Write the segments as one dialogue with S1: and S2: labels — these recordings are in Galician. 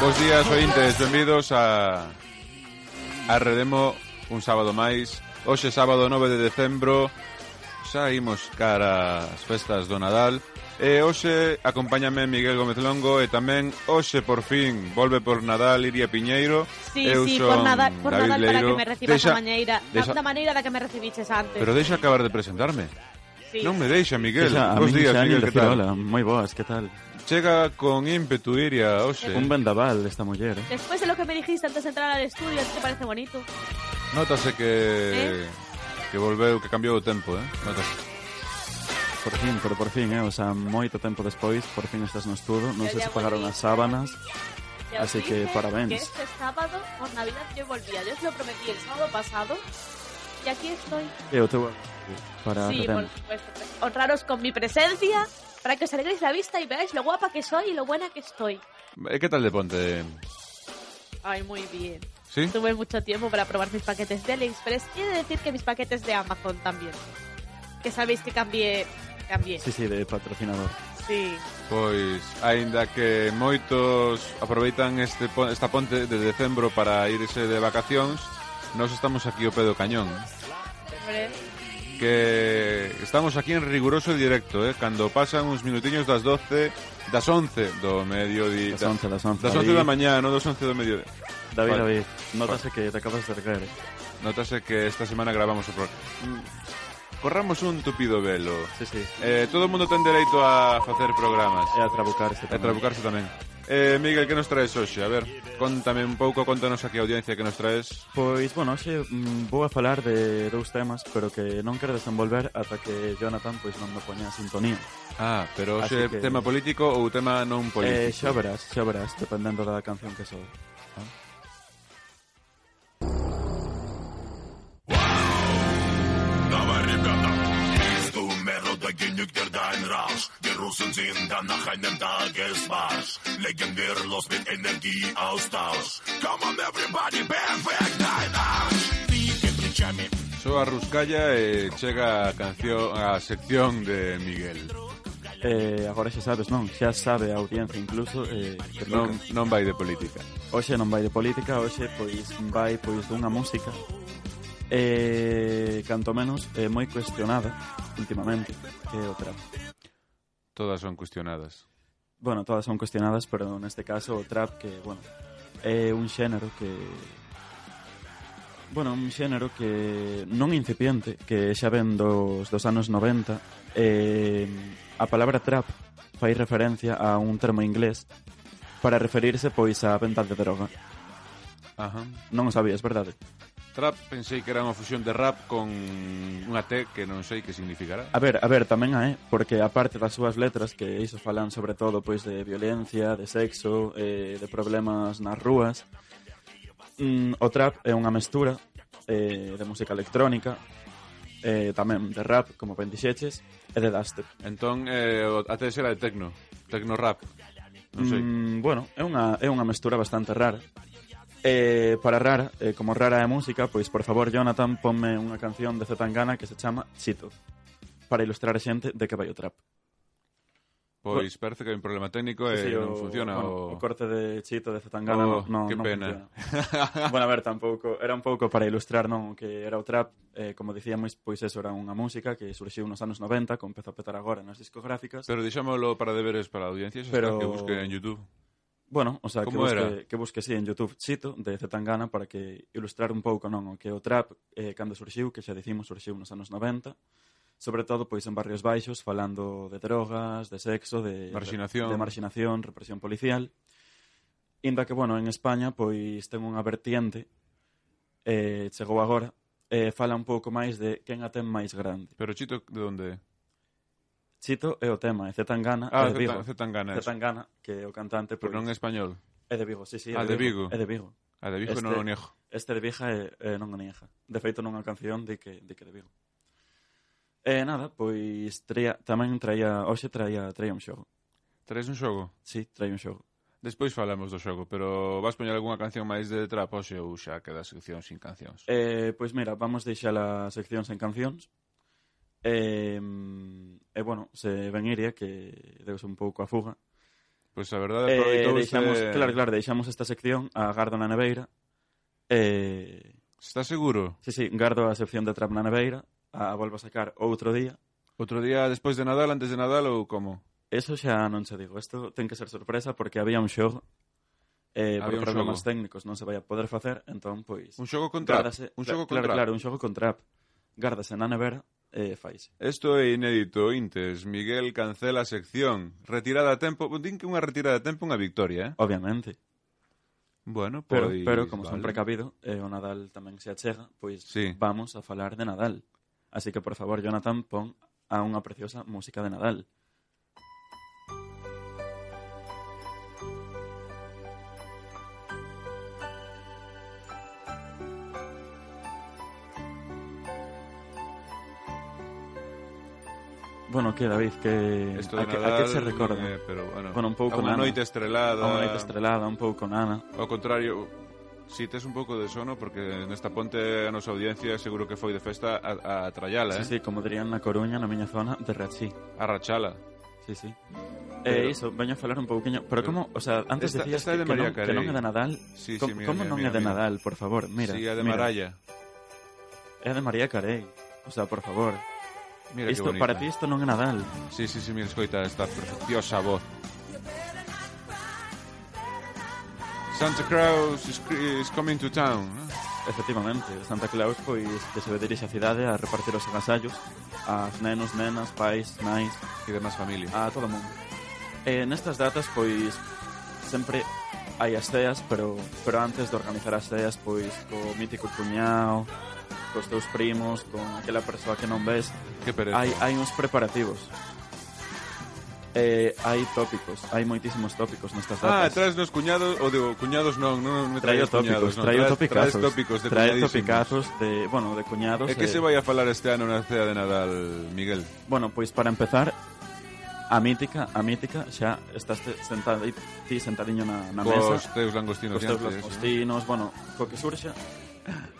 S1: Bos días, ointes, benvidos a a Redemo un sábado máis. Hoxe sábado 9 de decembro xa imos cara as festas do Nadal. E hoxe acompáñame Miguel Gómez Longo e tamén hoxe por fin volve por Nadal Iria Piñeiro.
S2: Sí,
S1: Eu
S2: sí,
S1: son
S2: por Nadal, por
S1: David
S2: Nadal para
S1: Leiro.
S2: que me recibas
S1: Deixa-
S2: da maneira, da,
S1: deixa-
S2: da maneira da que me recibiches antes.
S1: Pero deixa acabar de presentarme.
S2: sí.
S1: Non me deixa, Miguel.
S3: Xa, a
S1: Bos
S3: min
S1: días,
S3: xa nin
S1: Miguel, que
S3: decir
S1: tal?
S3: Hola, moi boas, que tal?
S1: Chega con ímpetu Iria hoxe.
S3: Un vendaval esta muller, eh?
S2: Después de lo que me dijiste antes de entrar al estudio, ¿a ti ¿te parece bonito?
S1: Notase que
S2: Eh?
S1: que volveu, que cambiou o tempo, eh? Notase.
S3: Por fin, pero por fin, eh? O sea, moito tempo despois, por fin estás no estudo. Non
S2: Yo
S3: sei
S2: ya
S3: se pagaron
S2: volví.
S3: as sábanas.
S2: Ya os
S3: Así que
S2: dije
S3: parabéns.
S2: Que este sábado, por Navidad, yo volvía. Yo os lo prometí el sábado pasado y aquí estoy.
S3: E o teu... Para
S2: sí,
S3: Redem.
S2: por supuesto. Honraros con mi presencia para que os alegréis la vista y veáis lo guapa que soy y lo buena que estoy.
S1: E que tal de ponte?
S2: Ay, muy bien.
S1: Sí?
S2: Tuve mucho tiempo para probar mis paquetes de AliExpress y he de decir que mis paquetes de Amazon también. Que sabéis que cambié. Cambié.
S3: Sí, sí, de patrocinador.
S2: Sí.
S1: Pois, aínda que moitos aproveitan este pon- esta ponte de decembro para irse de vacacións, nós estamos aquí ao pé do cañón.
S2: Hombre,
S1: Que estamos aquí en riguroso directo, eh? Cando pasan uns minutiños das 12, das 11 do mediodía.
S3: Das 11, das 11.
S1: Das 11 da mañá, non das 11 do mediodía.
S3: David,
S1: Vale.
S3: David, notase que te acabas de recaer. eh?
S1: Notase que esta semana gravamos o programa. Mm. Corramos un tupido velo.
S3: Sí, sí.
S1: Eh, todo o mundo ten dereito a facer programas.
S3: E a
S1: E
S3: trabucarse tamén.
S1: trabucarse tamén. Eh, Miguel, que nos traes hoxe? A ver, contame un pouco, contanos aquí a audiencia que nos traes.
S3: Pois, bueno, hoxe mm, vou a falar de dous temas, pero que non quero desenvolver ata que Jonathan pois non me poña a sintonía.
S1: Ah, pero
S3: Así
S1: hoxe
S3: que-
S1: tema político ou tema non político?
S3: Eh, xa verás, xa verás, dependendo da canción que sobe.
S4: Давай, ребята, из Умеродоги Нигдердайн Раш, Gerusen sind an nach einem Tagesmarsch, legen wir los mit Energieaustausch. Come on, everybody, perfect dein Arsch! Wiege плечами,
S1: Sou a Ruscalla e chega a canción a sección de Miguel.
S3: Eh, agora xa sabes, non? Xa sabe a audiencia incluso eh, que
S1: Non,
S3: non.
S1: non vai de política.
S3: hoxe non vai de política, hoxe pois vai pois dunha música eh, canto menos eh, moi cuestionada últimamente que é o trap.
S1: Todas son cuestionadas.
S3: Bueno, todas son cuestionadas, pero neste caso o trap que, bueno, é un xénero que Bueno, un xénero que non incipiente, que xa ven dos, dos anos 90 eh, A palabra trap fai referencia a un termo inglés Para referirse, pois, á venta de droga
S1: Ajá.
S3: Non o sabías, verdade?
S1: Trap pensei que era unha fusión de rap con unha T que non sei que significará.
S3: A ver, a ver, tamén a, eh, porque aparte das súas letras que iso falan sobre todo pois de violencia, de sexo, eh, de problemas nas rúas, mm, o trap é unha mestura eh, de música electrónica, eh, tamén de rap, como ben dixeches, e de dubstep.
S1: Entón, eh, o- a T era de tecno. Tecno rap. Non sei.
S3: Mm, bueno, é unha, é unha mestura bastante rara. Eh, para rara, eh, como rara é a música, pois por favor, Jonathan, ponme unha canción de Zetangana que se chama Chito, para ilustrar a xente de que vai o trap.
S1: Pois parece que hai un problema técnico e
S3: Sí, sí,
S1: non funciona
S3: bueno,
S1: o...
S3: o corte de Chito de Zetangana
S1: Oh,
S3: no, no,
S1: qué
S3: non
S1: pena.
S3: funciona. bueno, a ver, tampouco, era un pouco para ilustrar non o que era o trap, eh, como dicíamos, pois eso era unha música que surxiu nos anos 90, que empeza a petar agora nas discográficas.
S1: Pero deixámolo para deberes para a audiencia, xa
S3: Pero-
S1: está, que busque en YouTube.
S3: bueno, o sea, que
S1: como
S3: busque,
S1: era?
S3: que busque si sí, en YouTube Chito de Zetangana para que ilustrar un pouco non o que o trap eh, cando surxiu, que xa dicimos surxiu nos anos 90, sobre todo pois en barrios baixos falando de drogas, de sexo, de
S1: Marxinación.
S3: de, de marxinación, represión policial. Inda que bueno, en España pois ten unha vertiente eh, chegou agora eh, fala un pouco máis de quen a ten máis grande.
S1: Pero Chito, de onde? é?
S3: Chito é o tema, e Zetangana
S1: Ah,
S3: é de Vigo.
S1: Z Tangana.
S3: Zetangana, que é o cantante, pois,
S1: Pero non en español.
S3: é de Vigo, sí, sí,
S1: Ah,
S3: é
S1: de Vigo.
S3: É de Vigo.
S1: A de Vigo
S3: Este-
S1: non o niego.
S3: Este de Vieja é, é non ganeja. De feito, non é unha canción de que, de que de Vigo. E nada, pois traía, tamén traía, hoxe traía, traía un xogo.
S1: Traes un xogo?
S3: Sí, traía un xogo.
S1: Despois falamos do xogo, pero vas poñer algunha canción máis de trap hoxe ou xa queda a sección sin cancións.
S3: Eh, pois mira, vamos deixar a sección sen cancións. mm, E, e bueno, se ven Iria, que deus un pouco a fuga.
S1: Pois a verdade,
S3: Eh,
S1: aproveitouse...
S3: deixamos, claro, claro, deixamos esta sección a Gardo na Neveira. Eh,
S1: Está seguro?
S3: sí, sí, Gardo a sección de Trap na Neveira. A volvo a sacar outro día.
S1: Outro día despois de Nadal, antes de Nadal ou como?
S3: Eso xa non se digo, isto ten que ser sorpresa porque había un xogo eh,
S1: Había
S3: por
S1: un
S3: problemas
S1: xogo.
S3: técnicos non se vai a poder facer, entón, pois...
S1: Un xogo con trap.
S3: gárdase-
S1: Un
S3: cla-
S1: xogo con
S3: claro,
S1: trap.
S3: Claro, un xogo con trap. Gárdase na nevera e eh, faise.
S1: Esto é inédito, Intes. Miguel cancela a sección. Retirada a tempo. Din que unha retirada a tempo é unha victoria, eh?
S3: Obviamente.
S1: Bueno, pois...
S3: Pero, pero como son
S1: vale.
S3: precavido, eh, o Nadal tamén se achega, pois
S1: Sí.
S3: vamos a falar de Nadal. Así que, por favor, Jonathan, pon a unha preciosa música de Nadal. Bueno, que David, que
S1: Esto
S3: a,
S1: de
S3: que,
S1: Nadal,
S3: a que se recorda?
S1: Eh, pero, bueno,
S3: Bueno, un pouco
S1: a unha
S3: nada.
S1: noite estrelada.
S3: a unha noite estrelada, un pouco nana.
S1: Ao contrario, si tes un pouco de sono, porque nesta ponte a nosa audiencia seguro que foi de festa a, a trallala, eh?
S3: Sí, sí, como dirían na Coruña, na miña zona, de Rachi.
S1: A rachala.
S3: Sí, sí.
S1: Pero-
S3: Eh, iso, veño a falar un pouquiño, pero
S1: Pero-
S3: como, o sea, antes
S1: Esta-
S3: decías
S1: esta é de
S3: que, que,
S1: María
S3: non, que non é de
S1: Carey.
S3: Nadal.
S1: Sí, sí,
S3: como
S1: mira,
S3: como
S1: mira,
S3: non
S1: mira,
S3: é de
S1: mira.
S3: Nadal, por favor? Mira,
S1: sí, a de
S3: mira,
S1: Maralla.
S3: É de María Carey. O sea, por favor.
S1: Mira
S3: Isto,
S1: que bonita.
S3: para ti isto non é Nadal.
S1: Sí, sí, sí, mira, escoita esta preciosa voz. Santa Claus is, is coming to town. ¿no?
S3: Efectivamente, Santa Claus pois que se dirixe a cidade a repartir os agasallos ás nenos, nenas, pais, nais,
S1: E demás familia.
S3: a todo o mundo. Eh, nestas datas, pois, sempre hai as ceas, pero, pero antes de organizar as ceas, pois, co mítico cuñao, cos teus primos, con aquela persoa que non ves,
S1: que pereza.
S3: hai, hai uns preparativos. Eh, hai tópicos, hai moitísimos tópicos nestas
S1: Ah,
S3: datas.
S1: traes nos cuñados, ou digo, cuñados non, non me
S3: Traio
S1: traes cuñados,
S3: tópicos,
S1: non,
S3: traio
S1: traes-
S3: topicazos.
S1: Traes tópicos de
S3: traio
S1: cuñadísimos.
S3: topicazos de, bueno, de cuñados.
S1: É que
S3: eh,
S1: se vai a falar este ano na cea de Nadal, Miguel?
S3: Bueno, pois para empezar, a mítica, a mítica, xa estás te- sentado aí, ti sentadiño na, na
S1: Cos
S3: mesa,
S1: teus langostinos
S3: cos teus
S1: diantes,
S3: langostinos, bueno, co que surxa,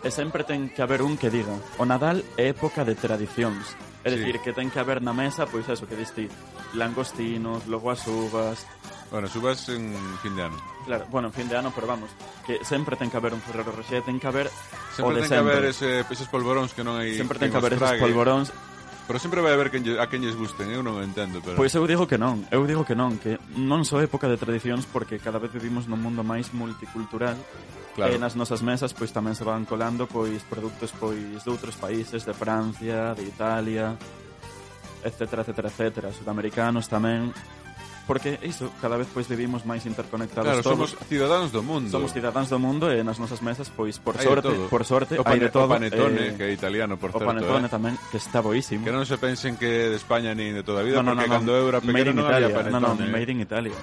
S3: e sempre ten que haber un que diga, o Nadal é época de tradicións, é
S1: Sí.
S3: dicir, que ten que haber na mesa, pois eso que dis ti, langostinos, logo as uvas,
S1: ¿no? Bueno, subas en fin de ano.
S3: claro, bueno, en fin de ano, pero vamos, que sempre ten que haber un Ferrero Rocher, ten que haber o
S1: Sempre
S3: de
S1: ten que haber
S3: sempre.
S1: ese, esos polvoróns que non hai...
S3: Sempre ten
S1: quen
S3: que haber
S1: os
S3: esos
S1: trague.
S3: polvoróns
S1: Pero sempre vai haber quen, lle- a quen lles gusten, ¿eh? eu non o entendo, pero...
S3: Pois eu digo que non, eu digo que non, que non só época de tradicións porque cada vez vivimos nun mundo máis multicultural
S1: Claro.
S3: e nas nosas mesas pois tamén se van colando pois produtos pois de outros países, de Francia, de Italia, etcétera, etcétera, etcétera, sudamericanos tamén, porque iso, cada vez pois vivimos máis interconectados
S1: Claro, somos
S3: todos.
S1: ciudadanos do mundo.
S3: Somos cidadáns do mundo e nas nosas mesas pois por
S1: Hai de
S3: sorte,
S1: todo.
S3: por sorte,
S1: O,
S3: hai
S1: pane,
S3: de todo.
S1: o panetone,
S3: eh,
S1: que é italiano, por
S3: o
S1: certo.
S3: panetone
S1: eh.
S3: tamén, que está boísimo.
S1: Que non se pensen que é de España nin de toda a vida,
S3: No, no,
S1: porque
S3: no, no.
S1: cando eu era
S3: Made
S1: pequeno
S3: in
S1: non
S3: Italia.
S1: había panetone. eh.
S3: No, no, made in Italia.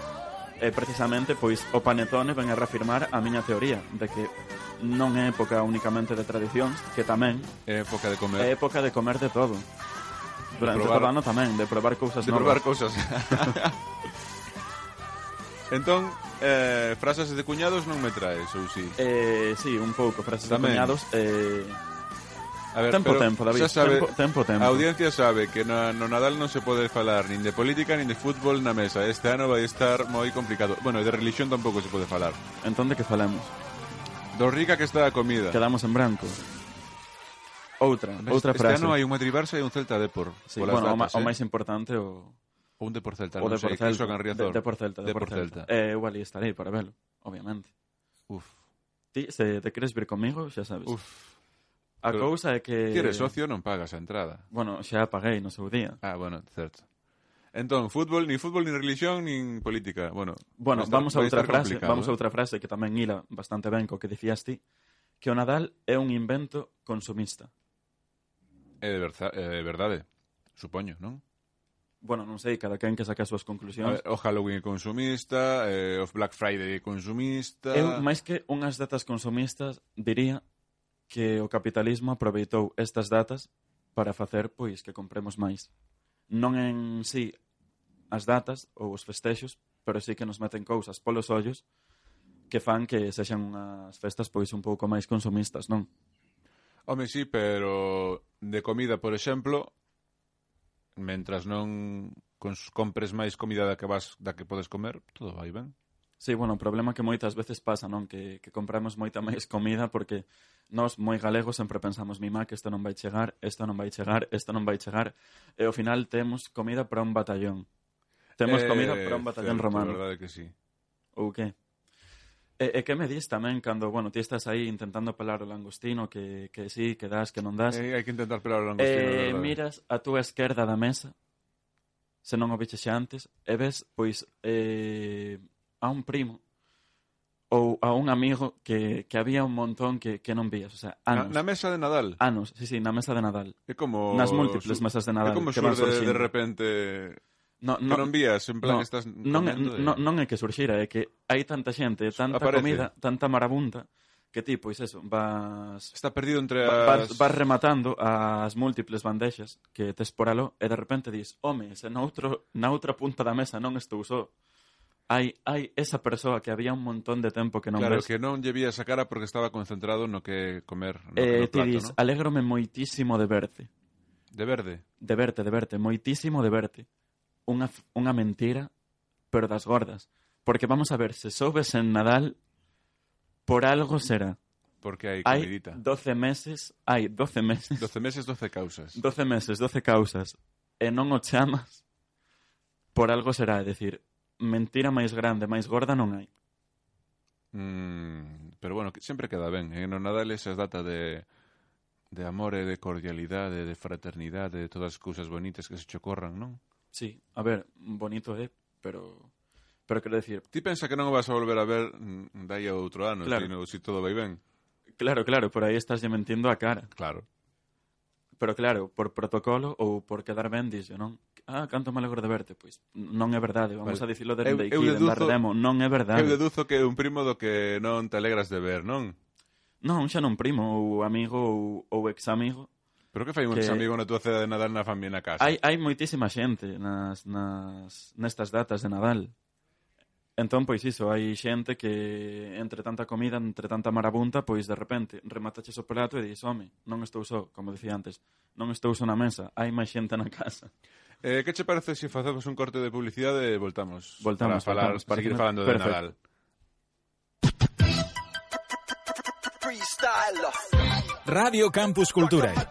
S3: E precisamente, pois, o panetone ven a reafirmar a miña teoría de que non é época únicamente de tradicións, que tamén
S1: É época de comer,
S3: é época de comer de todo. Durante
S1: Eh. probar-
S3: todo o ano tamén, de probar cousas
S1: de
S3: novas.
S1: probar cousas. entón, eh, frases de cuñados non me traes, ou si?
S3: Eh, sí, un pouco, frases
S1: Tamén.
S3: de cuñados. Eh...
S1: A ver,
S3: tempo,
S1: pero
S3: tempo, David.
S1: xa sabe,
S3: Tempo, tempo, tempo.
S1: A audiencia sabe que na, no Nadal non se pode falar nin de política nin de fútbol na mesa. Este ano vai estar moi complicado. Bueno, e de religión tampouco se pode falar.
S3: Entón, de que falamos?
S1: Do rica que está a comida.
S3: Quedamos en branco. Outra, outra
S1: este
S3: frase.
S1: ano hai un Madrid Barça e un Celta Depor.
S3: Sí,
S1: polas
S3: bueno, o, ma-
S1: datas,
S3: o
S1: eh.
S3: máis importante o,
S1: O un Depor Celta,
S3: O
S1: non
S3: de
S1: sei,
S3: Porcelta.
S1: que iso can Riazor.
S3: De, de Porcelta, de,
S1: De
S3: Porcelta.
S1: Porcelta.
S3: Eh, eu ali estarei para velo, obviamente.
S1: Uf,
S3: Ti, se te queres vir comigo, xa sabes.
S1: uf.
S3: a
S1: pero-
S3: cousa é que...
S1: Ti eres socio, non pagas a entrada.
S3: Bueno, xa paguei no seu día.
S1: Ah, bueno, certo. Entón, fútbol, nin fútbol, nin religión, nin política. Bueno,
S3: Bueno,
S1: vai estar-
S3: vamos a
S1: vai
S3: outra
S1: estar
S3: frase,
S1: complicado,
S3: vamos a
S1: eh?
S3: outra frase que tamén hila bastante ben co que dicías ti, que o Nadal é un invento consumista.
S1: É eh, de verza- é de verdade, supoño, non?
S3: Bueno, non sei, cada quen que saca as súas
S1: A
S3: conclusións.
S1: ver, o Halloween é consumista, eh, o Black Friday é consumista...
S3: Eu, máis que unhas datas consumistas, diría que o capitalismo aproveitou estas datas para facer, pois, que compremos máis. Non en sí as datas ou os festexos, pero sí que nos meten cousas polos ollos que fan que sexan unhas festas pois un pouco máis consumistas, non?
S1: Home, sí, pero de comida, por exemplo, mentras non cons compres máis comida da que vas da que podes comer, todo vai ben.
S3: Sí, bueno, o problema que moitas veces pasa, non? Que, que compramos moita máis comida porque nós, moi galegos, sempre pensamos mi má que isto non vai chegar, isto non vai chegar, isto non vai chegar. E ao final temos comida para un batallón. Temos
S1: Eh,
S3: comida para un batallón
S1: certo,
S3: romano.
S1: verdade que sí.
S3: Ou que? E, e que me dis tamén cando, bueno, ti estás aí intentando pelar o langostino, que, que Ah, sí, que das, que non das.
S1: Eh, hai que intentar pelar o langostino,
S3: E
S1: verdade.
S3: Eh, miras a túa esquerda da mesa, se non o viches xa antes, e ves, pois, eh, a un primo ou a un amigo que, que había un montón que, que non vías, o sea,
S1: Na,
S3: anos.
S1: na mesa de Nadal.
S3: Anos, sí, sí, na mesa de Nadal.
S1: É como
S3: Ah, Nas múltiples
S1: su-
S3: mesas de Nadal
S1: É como
S3: que van
S1: surde de,
S3: surxindo.
S1: de repente
S3: No,
S1: no, que non vías, en plan
S3: no,
S1: que estás
S3: non, é-
S1: comendo e-
S3: non, non é que surxira, é que hai tanta xente, tanta
S1: Aparece.
S3: comida, tanta marabunta, que ti, pois eso, vas
S1: está perdido entre
S3: vas,
S1: as
S3: vas rematando as múltiples bandexas que tes por aló e de repente dis, home, se na, outro, na outra punta da mesa non estou só. Hai, hai esa persoa que había un montón de tempo que non
S1: Claro,
S3: ves.
S1: que
S3: eh,
S1: non lle vías a cara porque estaba concentrado no que comer, no, que
S3: eh,
S1: no
S3: ti
S1: plato,
S3: dis,
S1: no?
S3: alégrome moitísimo de verte.
S1: De verde.
S3: De verte, de verte, moitísimo de verte. Unha, f- unha mentira, pero das gordas. Porque vamos a ver, se sobes en Nadal, por algo será.
S1: Porque hai
S3: Hai
S1: comidita.
S3: 12 meses, hai 12 meses
S1: 12 meses, 12 causas.
S3: 12 meses, 12 causas e non o chamas por algo será, é dicir, mentira máis grande, máis gorda non hai.
S1: Mm, pero bueno, que sempre queda ben. En o Nadal esas datas de de amor e de cordialidade, de fraternidade, de todas as cousas bonitas que se che ocorran, non?
S3: Sí, a ver, bonito é, pero pero quero decir,
S1: Ti pensa que non o vas a volver a ver mm, dai a outro ano,
S3: Claro.
S1: claro. sino, si todo vai ben.
S3: claro, claro, por aí estás lle mentindo a cara,
S1: Claro.
S3: pero claro, por protocolo ou por quedar ben dixo, non? Ah, canto me alegro de verte, pois non é verdade, vamos
S1: Vale.
S3: a dicilo de
S1: Eu-
S3: Rendeiquí,
S1: eu
S3: de
S1: deduzo-
S3: Demo, non é verdade.
S1: Eu deduzo que é un primo do que non te alegras de ver, non?
S3: Non, xa non primo ou amigo ou, ou ex-amigo,
S1: Pero que fai un
S3: Que-
S1: examigo na tua ceda de Nadal na familia na casa?
S3: hai, hai moitísima xente nas, nas, nestas datas de Nadal. Entón, pois iso, hai xente que entre tanta comida, entre tanta marabunta, pois de repente remataches o plato e dis, home, non estou só, como dicía antes, non estou só na mesa, hai máis xente na casa.
S1: Eh, que che parece se facemos un corte de publicidade e voltamos?
S3: Voltamos,
S1: Para, falar,
S3: voltamos.
S1: para seguir
S3: Seguimos.
S1: falando de Nadal.
S3: Perfecto.
S5: freestyler.
S6: Radio Campus Cultura,
S5: Straight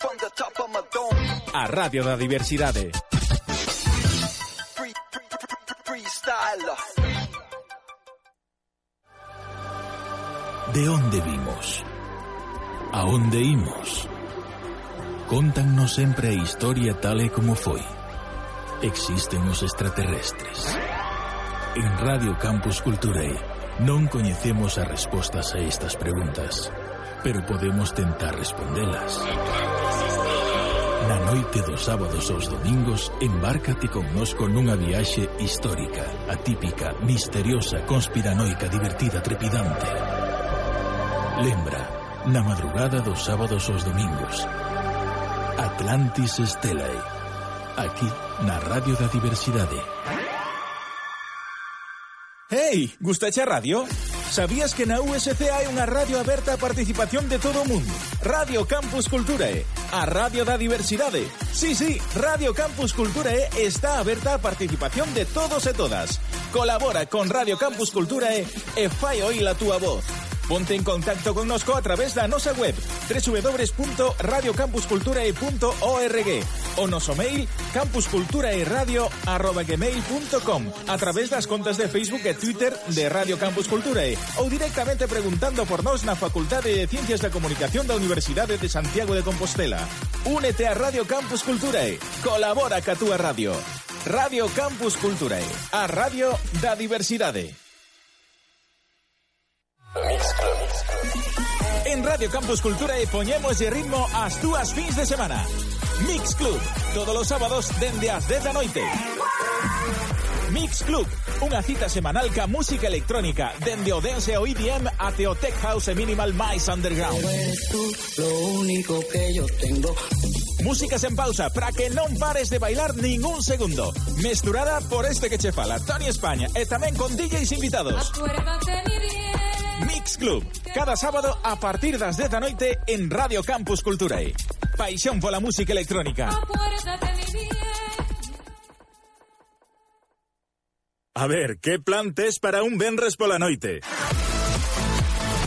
S5: from the top of my dome.
S6: a Radio da Diversidade.
S5: Free, free, free, freestyler.
S7: ¿De onde vimos? A onde imos? Contannos sempre a historia tal e como foi. Existen os extraterrestres. En Radio Campus Culturae non coñecemos as respostas a estas preguntas, pero podemos tentar respondelas. Na noite dos sábados aos domingos, embárcate connosco nunha viaxe histórica, atípica, misteriosa, conspiranoica, divertida, trepidante. Lembra, na madrugada dos sábados aos domingos. Atlantis Estelae. Aquí, na Radio da Diversidade.
S6: Hey, gustache a radio? Sabías que na USC hai unha radio aberta a participación de todo o mundo? Radio Campus Culturae, a radio da diversidade. Sí, sí, Radio Campus Culturae está aberta a participación de todos e todas. Colabora con Radio Campus Culturae e fai oír a túa voz. Ponte en contacto connosco a través da nosa web www.radiocampusculturae.org o noso mail e campusculturaeradio@gmail.com a través das contas de Facebook e Twitter de Radio Campus Culturae ou directamente preguntando por nós na Facultade de Ciencias da Comunicación da Universidade de Santiago de Compostela. Únete a Radio Campus Culturae. Colabora ca túa radio. Radio Campus Culturae, a radio da diversidade. En Radio Campus Cultura e poñemos de ritmo as túas fins de semana. Mix Club, todos os sábados dende as 10 da noite. Mix Club, unha cita semanal ca música electrónica, dende o dance ao EDM até o tech house e minimal máis underground. Música sen pausa para que non pares de bailar ningún segundo. Mesturada por este que che fala, Tony España, e tamén con DJs invitados.
S8: Acuérdate mi bien.
S6: Mix Club, cada sábado a partir das 10 da noite en Radio Campus Culturae. Paixón por la música electrónica. A ver, ¿qué plan tes para un vendres pola noite?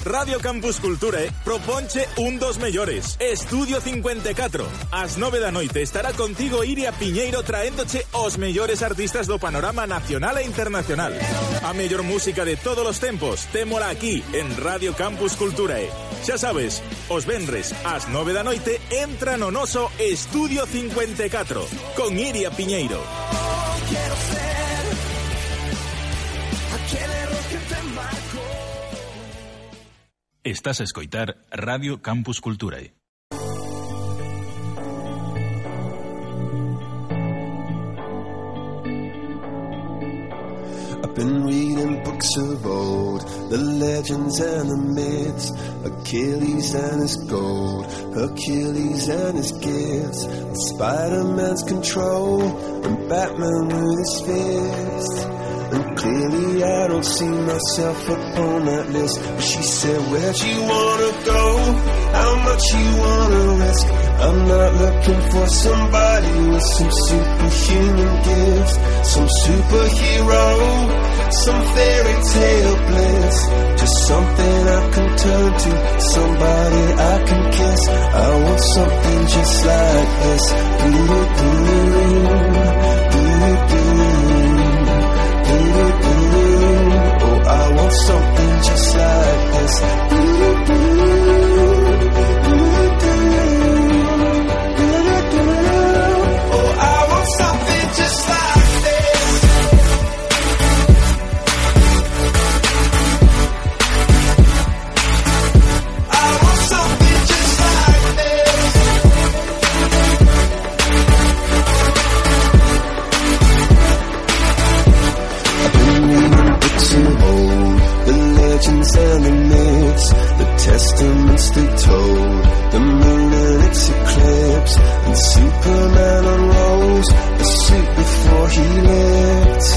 S6: Radio Campus Cultura proponche un dos mellores. Estudio 54. As nove da noite estará contigo Iria Piñeiro traéndoche os mellores artistas do panorama nacional e internacional. A mellor música de todos os tempos, témola aquí en Radio Campus Culturae. Xa sabes, os vendres ás nove da noite entra no noso Estudio 54 con Iria Piñeiro.
S7: Estás a escoitar Radio Campus Culturae.
S8: I've been reading books of old, the legends and the myths, Achilles and his gold, Hercules and his gifts, Spider Man's control, and Batman with his fist. And clearly I don't see myself upon that list. But she said, Where'd you wanna go? How much you wanna risk? I'm not looking for somebody with some superhuman gifts, some superhero, some fairy tale bliss. Just something I can turn to, somebody I can kiss. I want something just like this. Doo-doo-doo, doo-doo-doo. Doo-doo-doo. Oh, I want something just like this. Doo-doo-doo. Doo-doo-doo. Doo-doo-doo. Oh, I want something just like this. I want something just like this. books of old, the legends and the myths, the testaments they told, the moon and its eclipse, and Superman unrolls the suit before he lived.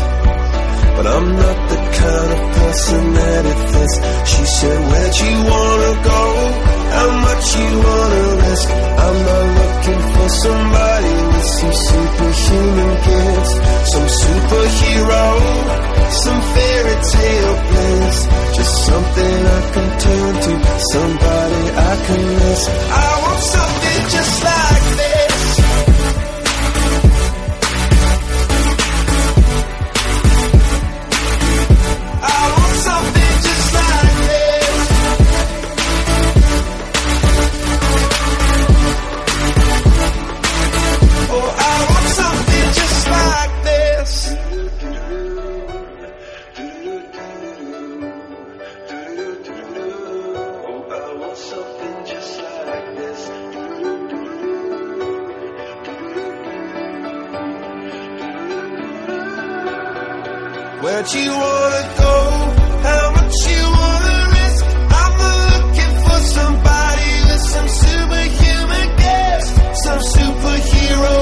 S8: But I'm not the kind of person that it fits. She said, Where'd you wanna go? How much you wanna risk? I'm not looking for somebody with some superhuman gifts, some superhero, some fairy tale bliss. Just something I can turn to, somebody I can miss. I want something just like this. I want something just like this. Oh, I want something just like this. Oh, I want something just like this. Where'd you wanna go? How much you wanna risk? I'm not looking for somebody with some superhuman gifts, some superhero,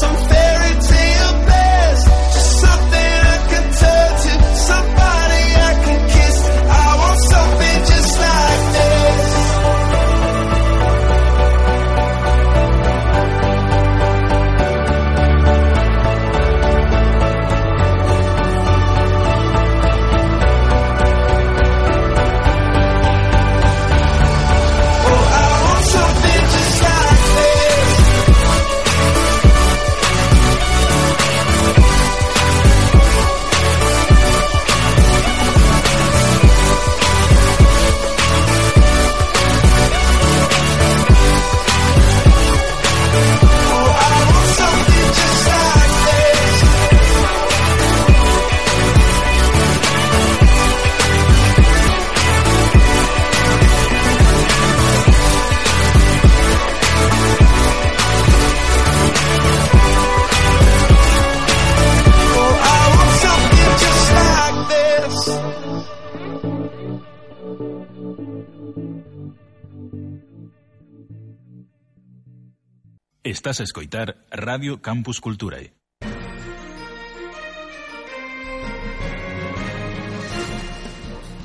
S8: some fairy tale bliss. Just something I can turn to, somebody I can kiss. I want something just like this. Oh, I want something just like this. Oh, I want something just like this. Oh, I want something just like this.
S7: Estás a escoitar Radio Campus Culturae.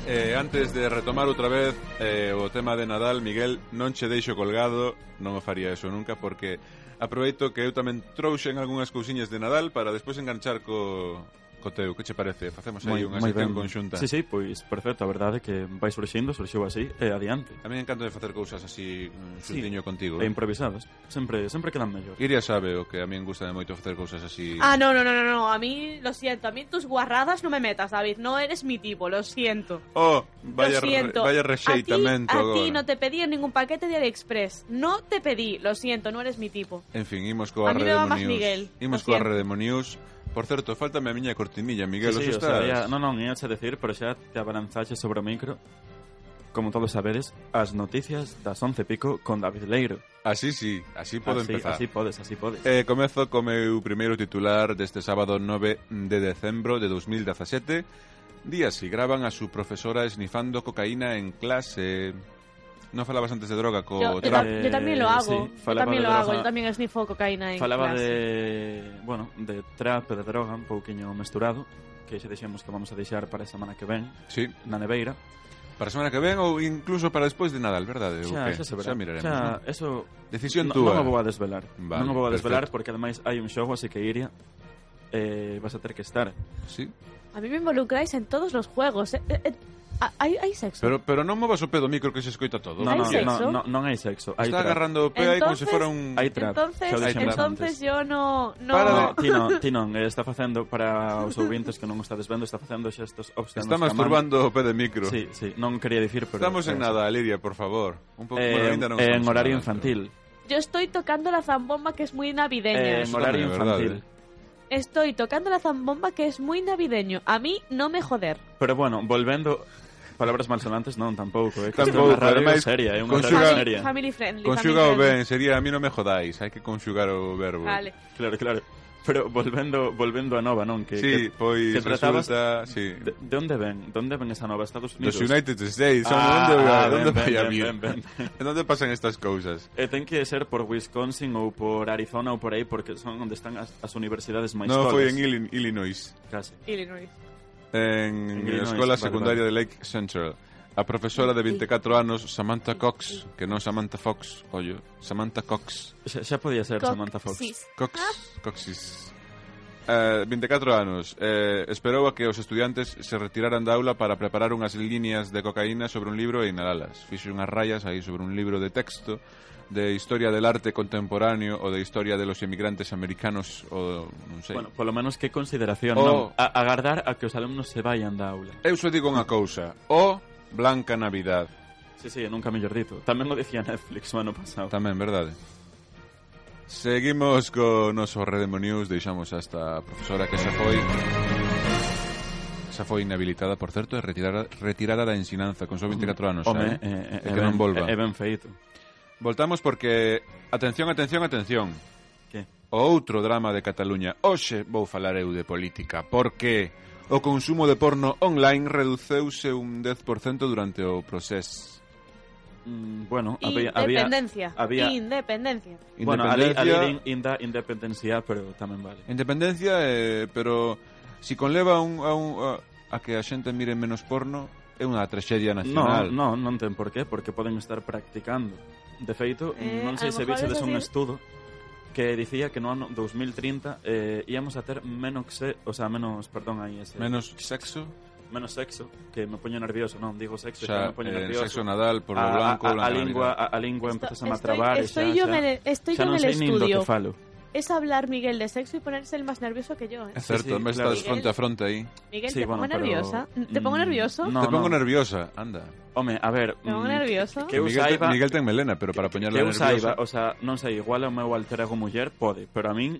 S1: Eh, antes de retomar outra vez eh, o tema de Nadal, Miguel, non che deixo colgado, non me faría eso nunca porque aproveito que eu tamén trouxen algunhas cousiñas de Nadal para despois enganchar co, co teu, que che parece? Facemos aí unha sección conxunta.
S3: Sí, sí, pois perfecto, a verdade é que vai surxindo, surxiu así e adiante.
S1: A mí me encanta de facer cousas así mm,
S3: Sí.
S1: xuntiño contigo.
S3: E improvisadas, sempre sempre quedan mellor.
S1: Iria sabe o que a mí me gusta de moito facer cousas así.
S2: Ah, no, no, no, no, no, a mí, lo siento, a mí tus guarradas no me metas, David, no eres mi tipo, lo siento.
S1: Oh, vaya,
S2: lo
S1: re-
S2: siento.
S1: vaya
S2: a
S1: rexeitamento
S2: ti,
S1: agora.
S2: A ti no te pedí en ningún paquete de AliExpress, no te pedí, lo siento, no eres mi tipo.
S1: En fin, imos coa
S2: A mí
S1: Rede
S2: me va
S1: de
S2: más Miguel,
S1: News. Imos
S2: lo
S1: coa
S2: siento.
S1: Rede de News. Por certo, faltame a miña cortinilla, Miguel,
S3: sí,
S1: os
S3: sí, o
S1: estás?
S3: sea, ya, non, non, ia che decir, pero xa te abalanzaxe sobre o micro. Como todos sabedes, as noticias das 11 e pico con David Leiro.
S1: Así sí, así podo
S3: así,
S1: empezar.
S3: así podes, así podes.
S1: Eh, comezo co meu primeiro titular deste sábado 9 de decembro de 2017. Días si graban a su profesora esnifando cocaína en clase. Non falabas antes de droga co
S2: Yo, yo
S1: trap.
S2: tam- yo también lo
S3: Eh,
S2: hago, yo
S3: sí, falaba
S2: también
S3: de
S2: lo hago,
S3: droga-
S2: yo también snifo cocaína en
S3: Falaba
S2: clase.
S3: de, bueno, de trap e de droga un pouquiño mesturado, que xa dixemos que vamos a deixar para a semana que ven
S1: Sí,
S3: na neveira.
S1: para a semana que ven ou incluso para despois de Nadal, verdade? Ou
S3: Xa,
S1: que?
S3: xa se
S1: xa
S3: verá.
S1: miraremos.
S3: xa,
S1: Xa...
S3: eso
S1: Decisión
S3: no-
S1: túa.
S3: non o vou a desvelar.
S1: Vale,
S3: non o vou a desvelar
S1: perfecto.
S3: porque ademais hai un xogo, así que Iria eh, vas a ter que estar.
S1: Sí.
S2: A mí me involucráis en todos los juegos, eh, eh, eh, ah, hay, hay sexo.
S1: Pero, pero non movas o pedo micro que se escoita todo.
S3: Non, non,
S1: Miguel.
S2: sexo?
S3: non, non, non hai sexo. Hai
S1: Está
S3: trap.
S1: agarrando o pé aí como se
S2: Entonces-
S1: fora un...
S3: Hai trap.
S2: entonces,
S3: xa o dixemos
S2: entonces
S3: antes.
S2: yo no, no,
S1: Para
S3: No, ti non, ti non, eh, está facendo para os ouvintes que non o estades vendo, está facendo xestos obscenos.
S1: Está
S3: ca man.
S1: masturbando o pé de micro.
S3: Sí, sí, non quería dicir, pero...
S1: Estamos en
S3: eh,
S1: nada, Lidia, por favor. Un pouco bueno,
S3: Eh,
S1: ainda non
S3: en
S1: estamos
S3: horario
S1: nada,
S3: infantil.
S2: yo estoy tocando la zambomba que es muy navideña.
S1: Eso
S3: Eh, en horario
S1: tamén é verdade.
S3: infantil.
S2: Estoy tocando la zambomba que es muy navideño. A mí no me joder.
S3: Pero bueno, volvendo palabras malsonantes non tampouco, é que isto é
S1: Tampouco,
S3: unha radio
S1: ademais,
S3: seria, é unha radio
S1: conxuga-
S2: Fami-
S3: seria.
S2: Family friendly.
S1: Pero... Conxuga o
S2: family friendly.
S1: ben, sería a mí non me jodáis, hai que conxugar o verbo.
S2: Vale.
S3: Claro, claro. Pero volvendo volvendo a nova, non? Que,
S1: Sí,
S3: que,
S1: pois
S3: que tratabas-
S1: resulta, sí.
S3: de, de onde ven? De onde ven esa nova? Estados Unidos?
S1: Dos United States,
S3: Ah,
S1: onde,
S3: ah,
S1: onde
S3: ben,
S1: vai a
S3: ben,
S1: vir?
S3: ben, ben, ben.
S1: Onde pasan estas cousas?
S3: E Eh, ten que ser por Wisconsin ou por Arizona ou por aí, porque son onde están as, as universidades máis
S1: Non
S3: colas.
S1: foi en Illin- Illinois,
S3: Casi.
S2: Illinois.
S1: en, a
S3: Illinois,
S1: Escola
S3: vale,
S1: Secundaria de Lake Central. A profesora de 24 anos, Samantha Cox, que non Samantha Fox, ollo, Samantha Cox,
S3: Xa, xa podía ser Samantha Fox.
S2: Coxis.
S1: Cox, Coxis. Eh, 24 anos eh, Esperou a que os estudiantes se retiraran da aula Para preparar unhas liñas de cocaína sobre un libro e inhalalas Fixo unhas rayas aí sobre un libro de texto De historia del arte contemporáneo Ou de historia de los emigrantes americanos Ou non sei
S3: Bueno, polo menos que consideración,
S1: O-
S3: non? A, agardar a que os alumnos se vayan da aula.
S1: Eu só digo unha cousa O Blanca Navidad
S3: Sí, sí, nunca mellor dito. Tamén o dicía Netflix o ano pasado.
S1: Tamén, verdade Seguimos co noso Redemo News Deixamos hasta a profesora que xa foi Xa foi inhabilitada, por certo E retirada, retirada da ensinanza Con só 24 anos xa, eh?
S3: Home, eh,
S1: E
S3: eh,
S1: que non volva.
S3: É, é ben feito.
S1: Voltamos porque Atención, atención, atención
S3: Que?
S1: O outro drama de Cataluña Hoxe vou falar eu de política Porque o consumo de porno online Reduceuse un 10% durante o proceso
S3: Mm, bueno, había... había
S2: Independencia.
S3: había-
S2: Independencia.
S3: bueno, a lei, a lei de inda independencia, pero tamén vale.
S1: Independencia, eh, pero si conleva a un, a, un, a, a que a xente mire menos porno é unha traxedia
S3: No,
S1: nacional.
S3: no, non ten por qué, porque poden estar practicando. De feito,
S2: Eh,
S3: non sei
S2: a lo
S3: se
S2: mejor
S3: visedes
S2: eso sí.
S3: un estudo que dicía que no ano 2030 eh, íamos a ter menos se, o sea, menos, perdón, aí ese,
S1: Menos sexo,
S3: menos sexo, que me poño nervioso, non digo
S1: o
S3: sexo,
S1: sea,
S3: que me poño
S1: eh,
S3: nervioso.
S1: sexo nadal, por lo
S3: a,
S1: blanco,
S3: a, a,
S1: blanca
S3: a lingua,
S1: Navidad.
S3: a, a lingua empezase a
S2: Estoy-
S3: trabar, e
S2: estoy
S3: xa,
S2: yo
S3: xa,
S2: en el- estoy
S3: xa
S2: yo en
S3: non
S2: el
S3: sei nin do
S2: estudio.
S3: que falo.
S2: Es hablar Miguel de sexo y ponerse el más nervioso que yo, ¿eh?
S1: É certo,
S3: sí,
S1: me
S3: claro.
S1: estás fronte a fronte aí.
S2: Miguel,
S3: Sí,
S2: ¿te pongo
S3: bueno, pero-
S2: nerviosa? ¿Te pongo
S3: Mm,
S2: nervioso?
S3: No,
S1: Te pongo
S3: no.
S1: nerviosa, anda.
S3: Home, a ver,
S2: Me pongo
S3: mm,
S2: nerviosa.
S3: que eu
S1: Miguel,
S3: saiba,
S1: Miguel ten melena, pero para poñerla
S3: que eu saiba,
S1: nerviosa...
S3: o sea, non sei, igual o meu alter ego muller pode, pero a min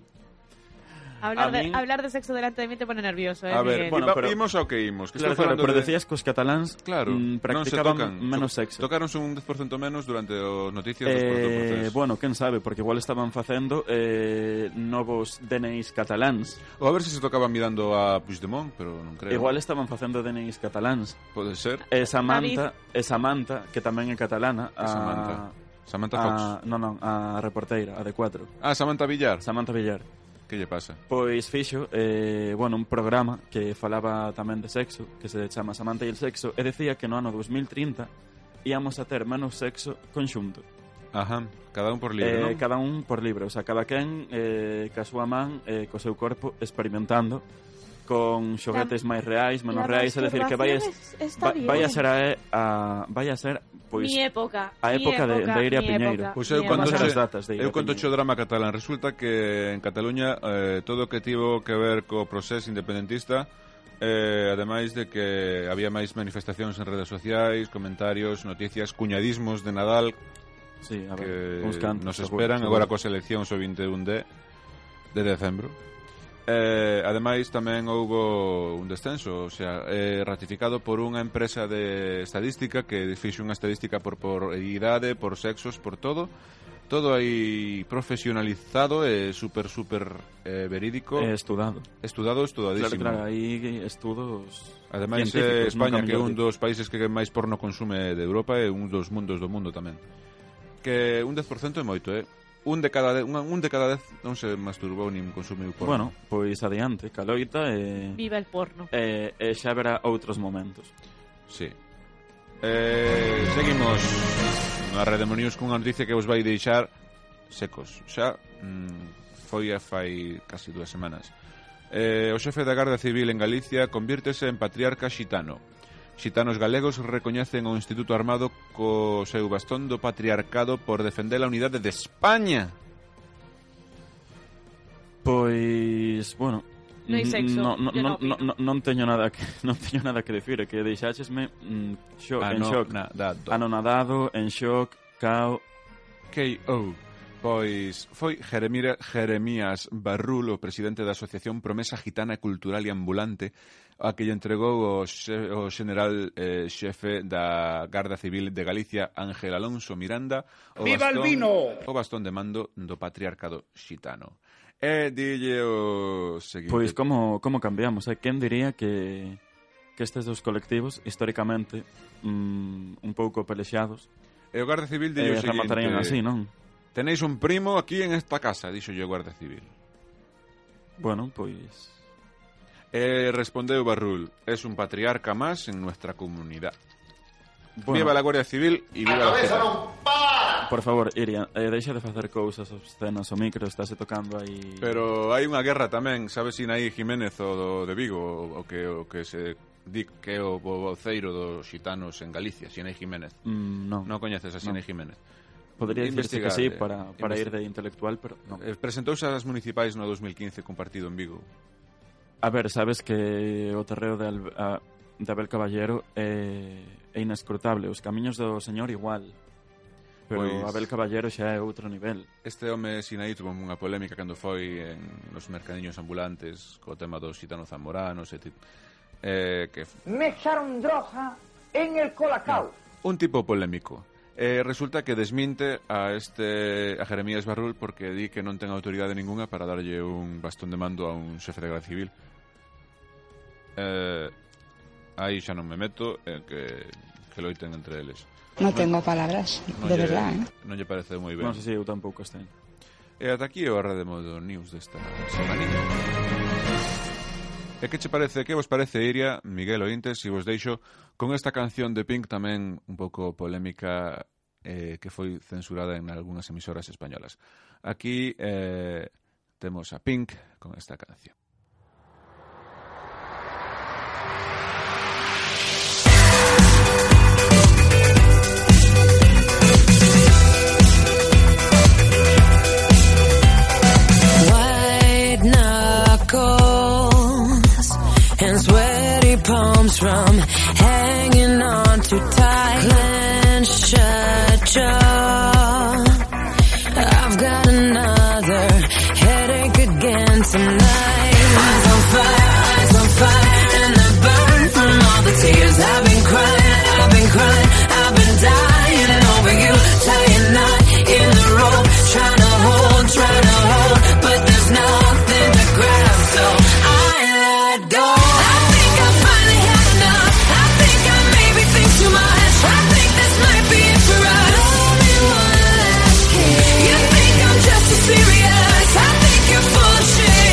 S2: hablar,
S3: a
S2: de,
S3: mí-
S2: hablar de sexo delante de mí te pone nervioso, ¿eh?
S1: A ver,
S2: Miguel?
S3: bueno,
S1: iba-
S3: pero-
S1: imos ao que imos. Que
S3: Claro,
S1: estou
S3: claro,
S1: falando
S3: pero
S1: de...
S3: decías que os cataláns
S1: Claro,
S3: mm,
S1: non se
S3: practicaban
S1: tocan.
S3: menos
S1: Toc-
S3: sexo.
S1: Tocaronse un 10% menos durante os noticias despois do
S3: Eh,
S1: proceso.
S3: bueno, quen sabe, porque igual estaban facendo eh, novos DNIs cataláns.
S1: Ou a ver se se tocaban mirando a Puigdemont, pero non creo.
S3: Igual estaban facendo DNIs cataláns.
S1: Pode ser.
S3: E Samantha, e Samantha que tamén é catalana, a, Ah.
S1: Samantha? Samantha Fox.
S3: a, non, non, a reporteira, a de 4.
S1: Ah, Samantha Villar.
S3: Samantha Villar.
S1: Que lle pasa?
S3: Pois fixo, eh, bueno, un programa que falaba tamén de sexo, que se chama Samantha e el sexo, e decía que no ano 2030 íamos a ter menos sexo conxunto.
S1: Ajá, cada un por libre,
S3: eh,
S1: non?
S3: cada un por libre, o sea, cada quen eh, ca súa man, eh, co seu corpo experimentando con xoguetes máis reais, menos
S2: La
S3: reais, é dicir que vai, es,
S2: masturbación es- está
S3: va, vai a
S2: bien.
S3: ser a, e- a vai a ser pois
S2: mi época.
S3: Pues a
S2: mi
S3: época de- de ir a
S2: mi
S3: Piñeiro.
S2: época,
S1: Pois
S2: mi
S1: eu
S2: época.
S1: cando
S3: Vamos
S1: che,
S3: ás datas de
S1: eu
S3: Iratini.
S1: conto che o drama catalán resulta que en Cataluña eh, todo o que tivo que ver co proceso independentista eh, ademais de que había máis manifestacións en redes sociais, comentarios, noticias, cuñadismos de Nadal
S3: sí, a ver,
S1: que
S3: uns cantos,
S1: nos
S3: seguro,
S1: esperan
S3: seguro.
S1: agora coas eleccións o 21 de de decembro. Eh, ademais tamén houbo un descenso, o sea, eh, ratificado por unha empresa de estadística que fixo unha estadística por por idade, por sexos, por todo. Todo aí profesionalizado e super super eh, verídico,
S3: eh, estudado.
S1: estudado,
S3: Claro,
S1: estudadísimo.
S3: claro, aí estudos
S1: Ademais, eh,
S3: científicos,
S1: España,
S3: nunca
S1: que é un
S3: mellor
S1: dos países que máis porno consume de Europa e un dos mundos do mundo tamén. Que un 10% é moito, eh? Un de cada dez, un, un de cada dez non se masturbou nin consumiu
S3: dito.
S1: porno.
S3: Bueno, pois adiante, caloita eh, e,
S2: Viva el porno.
S3: e, e xa verá outros momentos.
S1: Sí. Eh, seguimos na Rede Mo News cunha noticia que vos vai deixar secos. Xa mm, foi a fai casi dúas semanas. Eh, o xefe da Garda Civil en Galicia convírtese en patriarca xitano. Xitanos galegos recoñecen o Instituto Armado co seu bastón do patriarcado por defender a unidade de España.
S3: Pois, bueno,
S2: No hai sexo,
S3: No, no,
S2: yo non
S3: no,
S2: opino.
S3: no, no, non teño nada que non teño nada que decir, é que deixáchesme mm, xo,
S1: Ah,
S3: en xoc,
S1: na, da, do-
S3: anonadado, en xoc, cao,
S1: KO. Pois foi Jeremira, Jeremías Barrulo, presidente da Asociación Promesa Gitana Cultural e Ambulante, a que lle entregou o, xe, o general eh, xefe da Garda Civil de Galicia, Ángel Alonso Miranda, o
S9: Viva el vino!
S1: o bastón de mando do patriarcado xitano. E dille o seguinte...
S3: Pois como como cambiamos, eh? Quen diría que que estes dos colectivos históricamente mm, un pouco pelexados
S1: E o Garda Civil dille o
S3: eh,
S1: seguinte...
S3: rematarían así, non?
S1: Tenéis un primo aquí en esta casa, dixo o Guarda Civil.
S3: Bueno, pues, pois
S1: E respondeu Barrul, es un patriarca más en nuestra comunidad.
S3: bueno,
S1: Viva la Guardia Civil y viva la Jeta.
S3: por favor, Iria, eh, deixa de facer cousas obscenas o micro, estáse tocando aí.
S1: Pero hai unha guerra tamén, sabes Sinaí Jiménez o do, de Vigo, o, o que o que se di que é o bo- voceiro dos xitanos en Galicia, Sinaí Jiménez.
S3: Mm, non.
S1: Non coñeces a Sinaí Jiménez.
S3: Podería dicirse que
S1: investigar,
S3: sí
S1: eh,
S3: para, para ir
S1: investi-
S3: de intelectual, pero non.
S1: Eh, presentouse ás municipais no 2015 con partido en Vigo.
S3: A ver, sabes que o terreo de, Al a, de Abel Caballero é, é inescrutable. Os camiños do señor igual. Pero
S1: Pois-
S3: pois... Abel Caballero xa é outro nivel.
S1: Este home Sinaí tuvo unha polémica cando foi en nos mercadiños ambulantes co tema dos xitanos zamoranos e ti- eh, que
S9: Me echaron droga en el colacao.
S1: un tipo polémico. Eh, resulta que desminte a este a Jeremías Barrul porque di que non ten autoridade ningunha para darlle un bastón de mando a un xefe de Guardia Civil. Eh, aí xa non me meto, eh, que que loiten entre eles.
S10: No tengo palabras,
S1: Non
S10: de
S1: lle-
S10: verdad, ¿eh?
S1: Non lle parece moi ben.
S3: Non sei se eu tampouco este.
S1: E ata aquí o Arra de Modo News desta semanita. E que che parece, que vos parece, Iria, Miguel Ointes, si vos deixo con esta canción de Pink tamén un pouco polémica eh, que foi censurada en algunhas emisoras españolas. Aquí eh, temos a Pink con esta canción.
S11: White knuckles and sweaty palms from hanging on too tight. Clench a jaw. I've got another headache again tonight. Eyes on fire, eyes on fire, and I burn from all the tears I've been crying, I've been crying, I've been dying over you. Tie a knot in the rope, trying to hold, trying to hold, but there's nothing to grab, so I let go. I think I finally had enough. I think I maybe think too much. I think this might be it for us. Love me one last kiss. You think I'm just as serious? I think you're full of shit.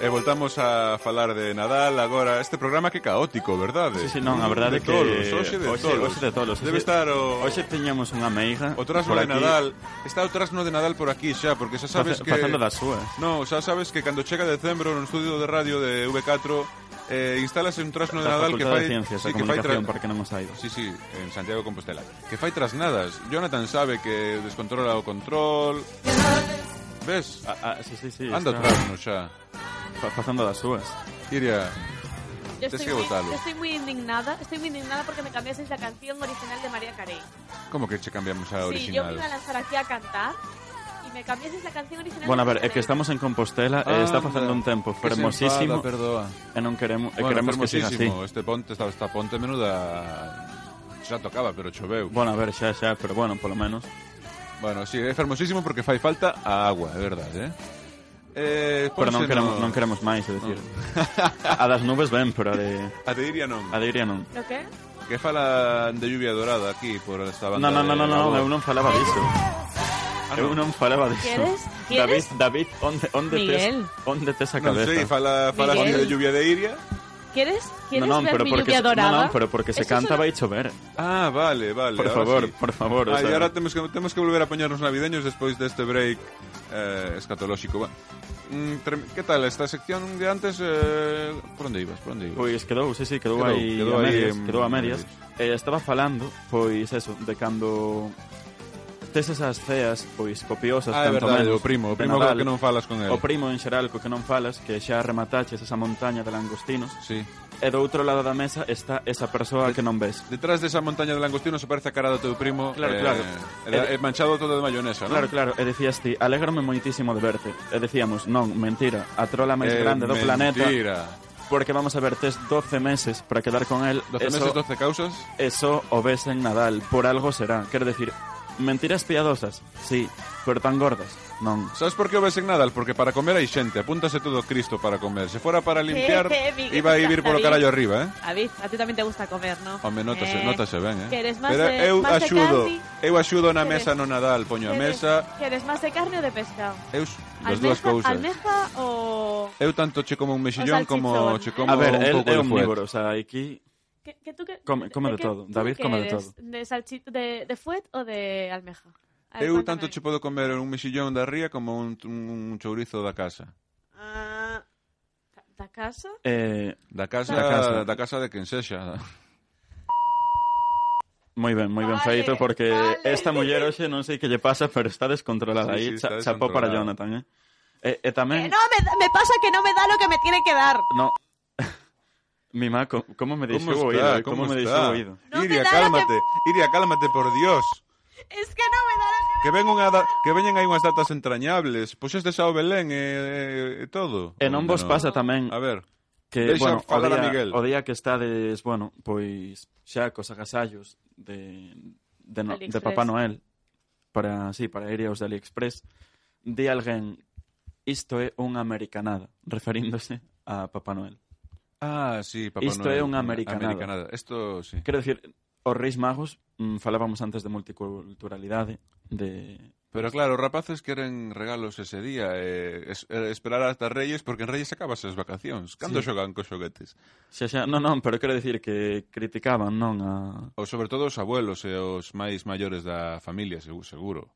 S1: E voltamos a falar de Nadal agora este programa que caótico, verdade?
S3: Sí, sí, non, a
S1: de
S3: verdade é que
S1: tolos, hoxe de
S3: hoxe,
S1: tolos.
S3: hoxe de tolos.
S1: Debe estar o
S3: Hoxe teñamos unha meiga.
S1: O trasno de Nadal, está o trasno de Nadal por aquí xa, porque xa sabes
S3: Face-
S1: que
S3: facendo das súas.
S1: No, xa sabes que cando chega decembro no estudio de radio de V4 eh, instálase un trasno de
S3: Da
S1: Nadal que
S3: Facultade
S1: fai
S3: de
S1: sí,
S3: Ciencias,
S1: que
S3: da
S1: fai
S3: Comunicación,
S1: tra-
S3: para que non os saiba.
S1: Sí, sí, en Santiago de Compostela. Que fai trasnadas. Jonathan sabe que descontrola o control. Ves?
S3: Ah, sí, sí, sí.
S1: Anda
S3: está
S1: trasno xa.
S3: fa- Facendo das súas.
S1: Iria,
S2: Yo
S1: Tienes
S2: estoy,
S1: que
S2: muy,
S1: votarlo.
S2: yo estoy muy indignada, estoy muy indignada porque me cambiasteis la canción original de María Carey.
S1: como que che cambiamos a
S2: Sí, yo me
S1: original?
S2: iba a lanzar aquí a cantar y me cambiasteis la canción original.
S3: Bueno, a
S2: de
S3: ver, é
S2: María Carey.
S3: que estamos en Compostela e
S1: Ah,
S3: está facendo un tempo fermosísimo
S1: perdoa.
S3: e non queremos, e
S1: Bueno,
S3: queremos que siga así.
S1: fermosísimo. Este ponte, esta, esta ponte menuda... Xa tocaba, pero choveu.
S3: Bueno, a ver, xa, xa, pero bueno, polo menos.
S1: Bueno, sí, é fermosísimo porque fai falta a agua, é verdade, eh? eh
S3: Pero
S1: pónseno-
S3: non queremos, non queremos máis, é dicir. A das nubes ben, pero a de,
S1: A te diría non.
S3: a de Iria non.
S2: ¿Lo qué?
S1: Que fala de lluvia dorada aquí por esta banda
S3: Non, non,
S1: de
S3: non, non, no,
S1: Gabón.
S3: eu non falaba diso.
S1: Ah,
S3: Eu non falaba diso.
S2: Quieres? Quieres?
S3: David, David, onde, onde tes,
S2: Miguel.
S3: onde tes a
S1: Non
S3: cabeza?
S1: sei, fala, fala de
S2: Miguel.
S1: lluvia de Iria.
S2: ¿Quieres? ¿Quieres
S3: non,
S2: ver
S3: pero
S2: mi
S3: porque,
S2: lluvia
S3: se-
S2: dorada?
S3: Non, non, pero porque se
S2: Eso es
S3: canta
S2: una-
S3: vai chover.
S1: Ah, vale, vale.
S3: Por
S1: ahora
S3: favor,
S1: sí.
S3: por favor, o
S1: Ah,
S3: sea.
S1: y ahora tenemos que, tenemos que volver a poñernos navideños despois deste break eh, escatolóxico. Bueno, mm, trem- que tal? Esta sección de antes... Eh, por onde ibas? Por onde ibas?
S3: Pois quedou, sí, sí, quedou,
S1: Quedou,
S3: aí
S1: quedou
S3: a
S1: aí,
S3: medias,
S1: em,
S3: quedou a medias. Eh, estaba falando, pois, eso, de cando tes esas ceas, pois, copiosas,
S1: Ah, é
S3: tanto
S1: verdade,
S3: menos,
S1: o primo, o
S3: de
S1: primo co
S3: Nadal,
S1: que non falas con el.
S3: O primo en xeral co que non falas, que xa remataches esa montaña de langostinos,
S1: Sí.
S3: e do outro lado da mesa está esa persoa que non ves.
S1: Detrás desa montaña de langostinos aparece a cara do teu primo
S3: Claro,
S1: eh,
S3: claro.
S1: eh, manchado todo de mayonesa,
S3: Claro,
S1: non?
S3: claro, e dicías ti, alégrame moitísimo de verte. E dicíamos, non, mentira, a trola máis
S1: Eh,
S3: grande do planeta,
S1: Mentira.
S3: porque vamos a ver, tes 12 meses para quedar con el,
S1: 12
S3: eso,
S1: meses, 12 causas.
S3: eso o ves en Nadal, por algo será. Quero decir, mentiras piadosas, sí, pero tan gordas, non.
S1: Sabes por que o ves en Nadal? Porque para comer hai xente, apúntase todo Cristo para comer. Se fora para limpiar,
S2: Eh, eh, Miguel,
S1: iba a ir
S2: David.
S1: polo carallo arriba, eh?
S2: David, a ti también te gusta comer, ¿no?
S1: Home, notase,
S2: Eh,
S1: notase ben, eh?
S2: ¿Quieres más
S1: Pero
S2: de,
S1: eu
S2: más de
S1: axudo,
S2: carne?
S1: eu axudo na
S2: Queres-
S1: mesa no Nadal, poño a
S2: ¿Quieres-
S1: mesa,
S2: ¿Quieres más de carne o de pescado?
S1: eu das
S2: ¿Almeja,
S1: dúas cousas.
S2: almeja o...?
S1: Eu tanto che como un mexillón
S2: O
S1: como
S2: salchichón.
S1: che como
S3: A ver,
S1: un
S3: el
S1: pouco
S3: é
S1: de
S3: omnívoro, o sea, aquí...
S2: ¿Qué, qué tú qué-
S3: Come- come de
S2: qué-
S3: todo.
S2: tú
S3: David
S2: qué
S3: come de
S2: eres?
S3: todo.
S2: ¿De, salchi- de, de fuet o de almeja? A ver,
S1: Eu
S2: cuéntame.
S1: tanto che podo comer un mexillón da ría como un, un chourizo da casa.
S2: Ah, ¿Da casa?
S3: Eh,
S1: Da casa,
S3: Da
S1: da casa,
S3: casa.
S1: de quen sexa.
S3: moi ben, moi ben
S2: Vale,
S3: feito, porque
S2: vale.
S3: esta muller hoxe non sei que lle pasa, pero está descontrolada
S1: Sí,
S3: aí,
S1: sí, está
S3: cha- chapó para
S1: descontrolada.
S3: Jonathan, eh? E, e tamén...
S2: Que no, me, da- me pasa que no me da lo que me tiene que dar.
S3: No. Mi ma, co- como me deixou o oído? eh? Como me deixou o oído?
S2: No me
S1: Iria,
S2: da la
S1: cálmate. Iria, cálmate, por Dios.
S2: Es que no me da lo que...
S1: Que ven unha da- que veñen aí unhas datas entrañables. Pois Puxestes ao Belén e, e, e todo.
S3: E non vos pasa tamén
S1: A ver,
S3: que,
S1: deixa
S3: bueno, o
S1: falar a
S3: día,
S1: Miguel.
S3: o día que estades, bueno, pois xa cos agasallos de, de, no, de
S2: AliExpress.
S3: Papá Noel para, sí, para ir aos de AliExpress, di alguén isto é unha americanada, referíndose a Papá Noel.
S1: Ah, sí, Papá
S3: Isto
S1: Noel.
S3: é unha americanada.
S1: Americanada. Isto, sí.
S3: Quero dicir, os reis magos, mm, falábamos antes de multiculturalidade, de...
S1: Pero claro, os rapaces queren regalos ese día e es, eh, esperar hasta Reyes porque en Reyes acabas as vacacións. Cando
S3: Sí.
S1: xogan cos xoguetes?
S3: Xa, xa, non, non, pero quero dicir que criticaban, non, a,
S1: Ou sobre todo os abuelos e os máis maiores da familia, segu- seguro.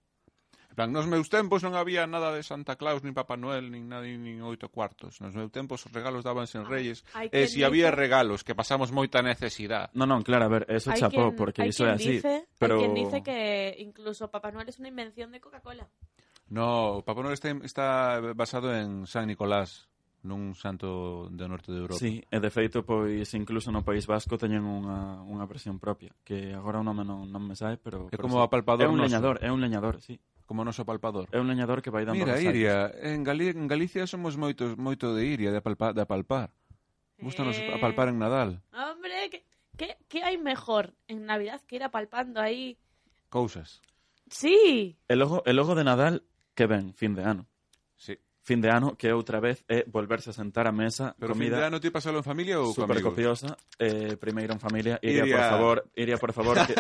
S1: En plan, nos meus tempos non había nada de Santa Claus, nin Papá Noel, nin nada, nin oito cuartos. Nos meus tempos os regalos dábanse en Reyes.
S3: Eh,
S2: Hai
S1: e
S2: quen
S1: si había
S2: dice-
S1: regalos, que pasamos moita necesidade.
S3: No, no, claro, a ver, eso
S2: Hay
S3: chapó,
S2: quien-
S3: porque
S2: hay
S3: eso
S2: quien
S3: es así.
S2: dice- hay
S3: pero...
S2: quien dice que incluso Papá Noel es una invención de Coca-Cola.
S1: No, o Papá Noel está, está basado en San Nicolás, nun santo do norte de Europa.
S3: Sí, e de feito, pois, incluso no País Vasco teñen unha, unha versión propia, que agora o nome non, non me sae, pero...
S1: É
S3: pero
S1: como o
S3: sí.
S1: apalpador
S3: É un
S1: noso.
S3: leñador, é un leñador, sí.
S1: Como o noso palpador.
S3: É un leñador que vai dando
S1: Mira,
S3: agasallos.
S1: Iria, en, Gali en Galicia somos moito, moito de Iria, de apalpar. De apalpar. Gústanos
S2: Eh.
S1: apalpar en Nadal.
S2: Hombre, ¿qué, qué, qué hay mejor en Navidad que ir apalpando ahí?
S1: Cousas.
S2: Sí.
S3: E logo, e logo de Nadal, que ven, fin de ano.
S1: Sí.
S3: Fin de ano, que outra vez é volverse a sentar a mesa,
S1: Pero fin de
S3: comida
S1: ano ti pasalo en familia ou con
S3: super
S1: amigos?
S3: copiosa, eh, primeiro en familia, Iria,
S1: Iria.
S3: por favor, Iria, por favor, que,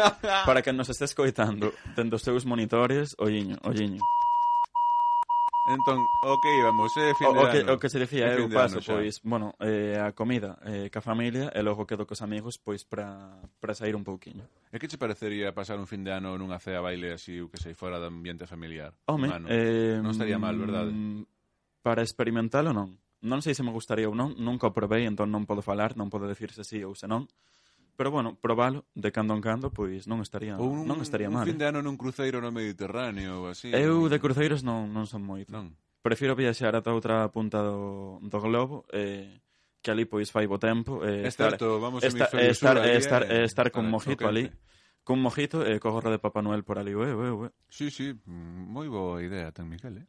S3: para que nos estés coitando, dentro dos teus monitores, olliño, olliño.
S1: Entón, o que íbamos, eh, fin
S3: o,
S1: de
S3: o que,
S1: ano.
S3: o que se dicía,
S1: É
S3: eu
S1: fin de
S3: paso,
S1: ano xa.
S3: pois, bueno, eh, a comida eh, ca familia e logo quedo cos amigos, pois, para para sair un pouquiño.
S1: E que che parecería pasar un fin de ano nunha cea baile así, o que sei, fora do ambiente familiar?
S3: Home,
S1: humano?
S3: eh,
S1: non estaría mal, verdade?
S3: mm, Para experimentalo non. Non sei se me gustaría ou non, nunca o probei, entón non podo falar, non podo dicir se sí ou se non. Pero bueno, probalo de cando en cando, pois non estaría
S1: Ou un,
S3: non estaría
S1: un
S3: mal. eh.
S1: fin de ano nun cruceiro no Mediterráneo ou así.
S3: Eu de cruceiros non non son moito.
S1: Non.
S3: Prefiro viaxar ata outra punta do, do globo eh, que ali pois fai bo tempo eh,
S1: É certo, vamos a
S3: estar,
S1: hemisferio
S3: estar,
S1: sur ali,
S3: estar,
S1: eh,
S3: estar
S1: para
S3: con mojito
S1: choquente.
S3: ali Con mojito e eh, co gorra de Papá Noel por ali ué, ué, ué.
S1: Sí, sí, mm, moi boa idea, tan Miguel, eh?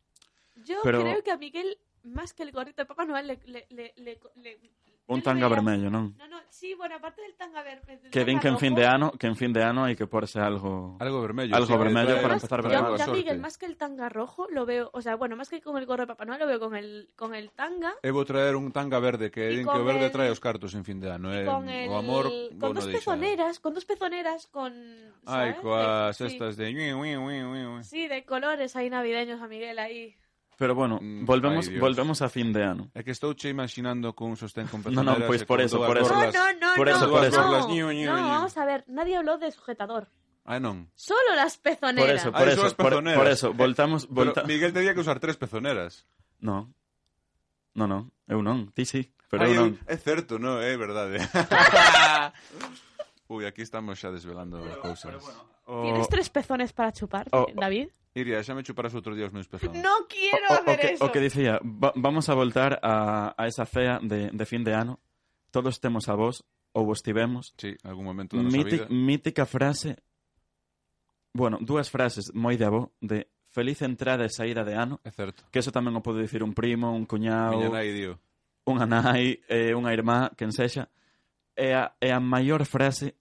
S2: Yo
S3: Pero-
S2: creo que a Miguel, más que el gorrito de Papá Noel, le... le, le, le- le- yo
S3: Un
S2: le
S3: tanga
S2: vería-
S3: vermello, non?
S2: No, no, sí, bueno, aparte del tanga vermelho. del
S3: Que din
S2: tanga
S3: que en fin
S2: rojo,
S3: de ano Que en fin de ano hai que porse algo
S1: Algo vermello.
S3: Algo
S1: sí,
S3: vermello
S1: trae-
S3: para
S2: Además,
S3: empezar
S2: yo-
S1: trae
S3: verano.
S1: boa
S2: yo a
S1: sorte.
S2: Miguel, más que el tanga rojo, lo veo, o sea, bueno, más que con el gorro de Papá Noel, lo veo con el, con el tanga
S1: Eu vou traer un tanga verde que
S2: E
S1: din que o
S2: con
S1: verde
S2: el-
S1: trae os cartos en fin de ano, eh?
S2: con el...
S1: O amor vou
S2: con
S1: no
S2: dos
S1: deixar.
S2: pezoneras, con dos pezoneras, con...
S1: Ai,
S2: ¿sabes?
S1: coas
S2: De- sí.
S1: estas de ui, ui, ui, ui, ui.
S2: Sí, de colores ahí navideños a Miguel ahí.
S3: Pero bueno,
S1: Mm,
S3: volvemos
S1: ay, Dios.
S3: volvemos a fin de ano
S1: É que estou che imaginando cun sostén con
S3: No,
S1: pezoneras
S3: no, pois
S1: e
S3: por
S1: con
S3: eso,
S1: dúas
S3: por eso.
S1: borlas.
S2: Ah, no, no,
S3: por
S2: no,
S3: eso,
S2: no,
S3: por eso.
S1: Borlas, niu, niu,
S2: no,
S1: niu.
S2: vamos a ver, nadie habló de sujetador.
S1: Ah, non.
S2: Solo las
S3: Por
S2: pezoneras.
S3: eso,
S1: Ah,
S3: por
S1: eso
S3: eso,
S1: es
S3: por,
S1: pezoneras.
S3: por eso Voltamos,
S1: Pero
S3: volta...
S1: Miguel tenía que usar tres pezoneras.
S3: No, no, no, eu non Ti sí, pero
S1: Ai,
S3: eu non
S1: eu- É certo, non, é verdade. Ui, aquí estamos xa desvelando cousas.
S2: ¿Tienes tres pezones para chuparte,
S3: Oh, oh.
S2: David?
S1: Iria, xa me chuparás outro día os meus pezones.
S2: No quiero
S3: o, o
S2: hacer
S3: que,
S2: eso.
S3: o que dicía, va- vamos a voltar a, a esa cea de, de fin de ano. Todos temos a vos, ou vos tivemos.
S1: Sí, algún momento da nosa
S3: Míti,
S1: vida.
S3: mítica frase, bueno, dúas frases moi de avó, de feliz entrada e saída de ano,
S1: É certo.
S3: que eso tamén o pode dicir un primo, un cuñado,
S1: Miña nai dio.
S3: unha nai, eh, unha irmá, quen sexa. É a, é a maior frase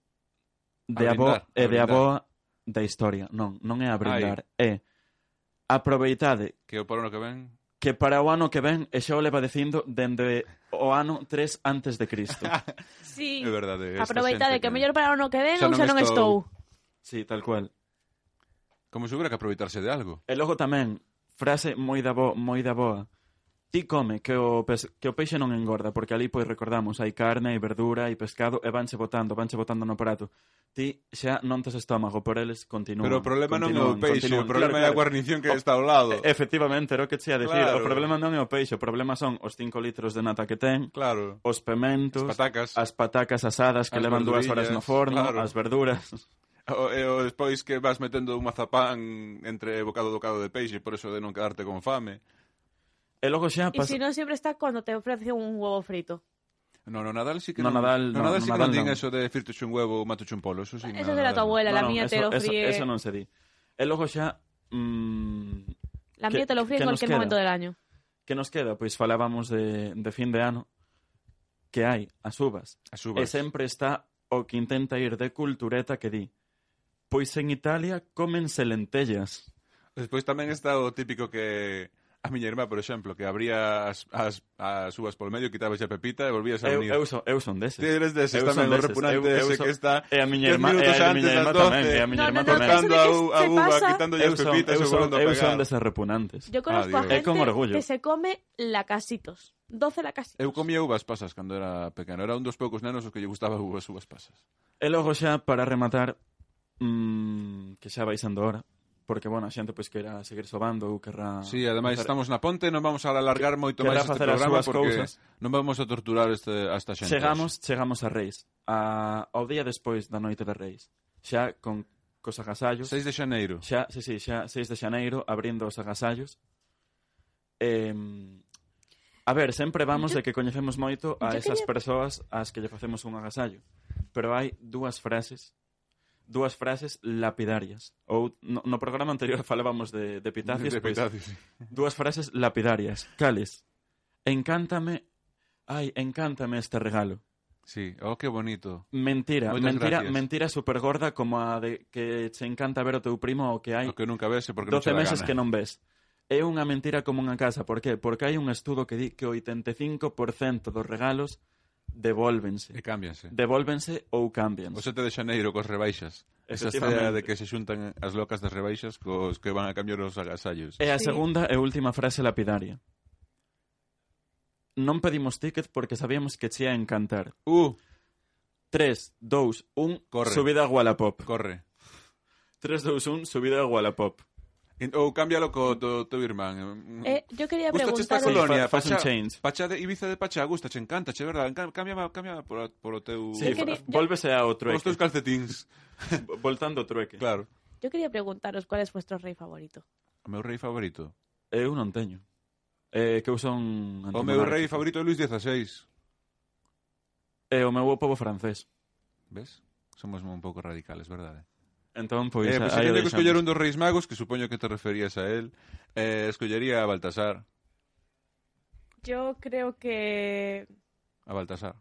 S3: de
S1: A
S3: avó
S1: brindar,
S3: e
S1: a
S3: de
S1: brindar.
S3: aboa da historia. Non, non é a brindar, é aproveitade
S1: Que o paro no que ven...
S3: que para o ano que ven e xa o leva dicindo dende o ano 3 antes de Cristo.
S2: Sí.
S1: É verdade. esta
S2: Aproveita de
S1: xente
S2: que mellor para o no que den,
S1: Xa
S2: ou
S1: non
S2: xa non
S1: estou.
S2: estou.
S3: sí, tal cual.
S1: Como se hubiera que aproveitarse de algo.
S3: E logo tamén, frase moi da boa, moi da boa. Ti come que o, pes que o peixe non engorda, porque ali pois recordamos, hai carne, hai verdura, hai pescado, e vanse botando, vanse botando no prato. Ti xa non tes estómago, por eles continúan.
S1: Pero o problema non é o
S3: continúan,
S1: peixe, o
S3: continúan.
S1: problema é a
S3: Claro, Eh, claro.
S1: guarnición que está ao lado.
S3: E- Efectivamente, era o que che a decir.
S1: Claro.
S3: O problema non é o peixe, o problema son os 5 litros de nata que ten,
S1: Claro.
S3: os pementos,
S1: As patacas.
S3: as patacas asadas que
S1: As
S3: levan dúas horas no
S1: verdurillas,
S3: forno,
S1: claro.
S3: as verduras.
S1: O, e o despois que vas metendo un mazapán entre bocado do cado de peixe, por eso de non quedarte con fame.
S3: E logo xa
S2: E
S3: pasa...
S2: si non sempre está cuando te ofrece un huevo frito.
S1: No, no Nadal sí que
S3: No
S1: non.
S3: Nadal,
S1: no
S3: no,
S1: Nadal
S3: no
S1: sí que
S3: Nadal
S1: non din
S3: non.
S1: eso de firtuche un huevo ou matuche un polo, eso sí.
S2: Eso
S1: no,
S2: será
S1: Nadal
S2: tu abuela, la
S3: non,
S2: mía te lo
S3: eso,
S2: fríe.
S3: Eso, eso non se di. E logo xa... Mm,
S2: La mía
S3: ¿Qué-
S2: te lo fríe
S3: qué
S2: en
S3: nos
S2: cualquier
S3: queda?
S2: momento del año.
S3: que nos queda? Pois falábamos de, de fin de ano que hai as uvas.
S1: As uvas.
S3: E sempre está o que intenta ir de cultureta que di Pois en Italia comense lentellas.
S1: Despois tamén está o típico que a miña irmá, por exemplo, que abría as, as, as uvas polo medio, quitaba xa pepita e volvías a
S3: Eu,
S1: unir.
S3: eu, son, eu son deses.
S1: Ti eres deses
S3: Eu
S1: tamén, o
S3: son
S1: repugnante
S3: Eu- eu
S1: ese
S3: son-
S1: que está
S3: E a miña
S1: 10
S3: irmá, e
S1: minutos
S3: a
S1: antes
S3: miña
S1: das
S3: irmá
S1: 12.
S3: tamén, e a miña
S2: No, no,
S3: irmá
S2: no,
S3: tamén.
S1: Cortando
S2: Eso
S1: a,
S2: de que
S1: u- a
S2: se
S1: uva,
S2: pasa-
S1: quitando as
S3: Eu son,
S1: pepitas
S3: eu
S1: e
S3: son,
S1: volvendo a
S3: eu
S1: pegar.
S3: son deses repugnantes.
S2: Yo conozco
S1: Ah,
S2: a
S1: Dios.
S2: gente
S3: É con orgullo.
S2: que se come lacasitos. 12 lacasitos.
S1: Eu comía uvas pasas cando era pequeno. Era un dos poucos nenos os que lle gustaba uvas uvas pasas.
S3: E logo xa, Eh, para rematar, mm, que xa vai sendo hora, porque, bueno, a xente pois queira seguir sobando ou querrá...
S1: Sí, ademais
S3: facer-
S1: estamos na ponte, non vamos a alargar moito
S3: Querrá
S1: máis este
S3: facer as
S1: programa
S3: súas
S1: porque
S3: cousas.
S1: non vamos a torturar este, a esta xente.
S3: Chegamos, chegamos a Reis, a, ao día despois da noite de Reis, xa con cos agasallos,
S1: 6 de xaneiro.
S3: xa, sí, sí, xa 6 de xaneiro, abrindo os agasallos. Eh, a ver, sempre vamos de que coñecemos moito a
S2: Yo
S3: esas
S2: quería-
S3: persoas ás que lle facemos un agasallo, pero hai dúas frases dúas frases lapidarias. Ou no, no programa anterior falábamos de, de pitacias,
S1: De
S3: pois
S1: Pitacios, sí.
S3: dúas frases lapidarias. Cales? Encántame, ai, encántame este regalo.
S1: Sí, oh, que bonito.
S3: Mentira,
S1: Moitas
S3: mentira,
S1: gracias.
S3: mentira supergorda como a de que che encanta ver o teu primo o que hai
S1: O que nunca vese porque non che
S3: 12
S1: dá
S3: meses
S1: gana.
S3: que non ves. É unha mentira como unha casa, por qué? Porque hai un estudo que di que o 85% dos regalos devólvense.
S1: E cámbianse.
S3: Devólvense ou cámbianse.
S1: O 7 de Xaneiro cos rebaixas. Esa
S3: Efectivamente.
S1: escena de que se xuntan as locas das rebaixas cos que van a cambiar os agasallos.
S3: E a
S2: Sí.
S3: segunda e última frase lapidaria. Non pedimos ticket porque sabíamos que chía encantar.
S1: Uh,
S3: 3, 2, 1,
S1: Corre.
S3: subida a Wallapop.
S1: corre.
S3: 3, 2, 1, subida a Wallapop.
S1: En- Ou oh, cámbialo
S3: Mm.
S1: co do teu irmán.
S2: Eh, yo
S1: Gustache
S2: quería preguntar...
S1: esta
S3: preguntaron-
S1: colonia,
S3: Sí, fa- faz un
S1: Pachá-
S3: change.
S1: Mm, Pachá de Ibiza de Pachá, gustache, encántache, verdad? Encá- Cámbiama, cámbiama por, por o teu...
S3: Sí,
S2: Eu quería-
S3: fa- vólvese ao
S1: Por os
S3: trueque.
S1: teus calcetins,
S3: Voltando ao trueque.
S1: claro.
S2: Yo quería preguntaros cuál es vuestro rey favorito.
S1: O meu rei favorito.
S3: Eu non teño. Eh, que eu son
S1: O meu
S3: antimonárquico.
S1: rei favorito é Luis XVI.
S3: E Eh, o meu povo francés.
S1: Ves? Somos un pouco radicales, verdade?
S3: Entón, pois,
S1: eh,
S3: eh,
S1: pues, se tiña
S3: aí o
S1: que
S3: deixamos.
S1: escoller un dos reis magos, que supoño que te referías a él, eh, escollería a Baltasar.
S2: Yo creo que
S1: A Baltasar.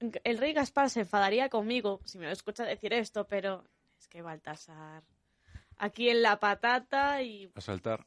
S2: el rey Gaspar se enfadaría conmigo si me lo escucha decir esto, pero es que Baltasar... Aquí en la patata y...
S1: A saltar.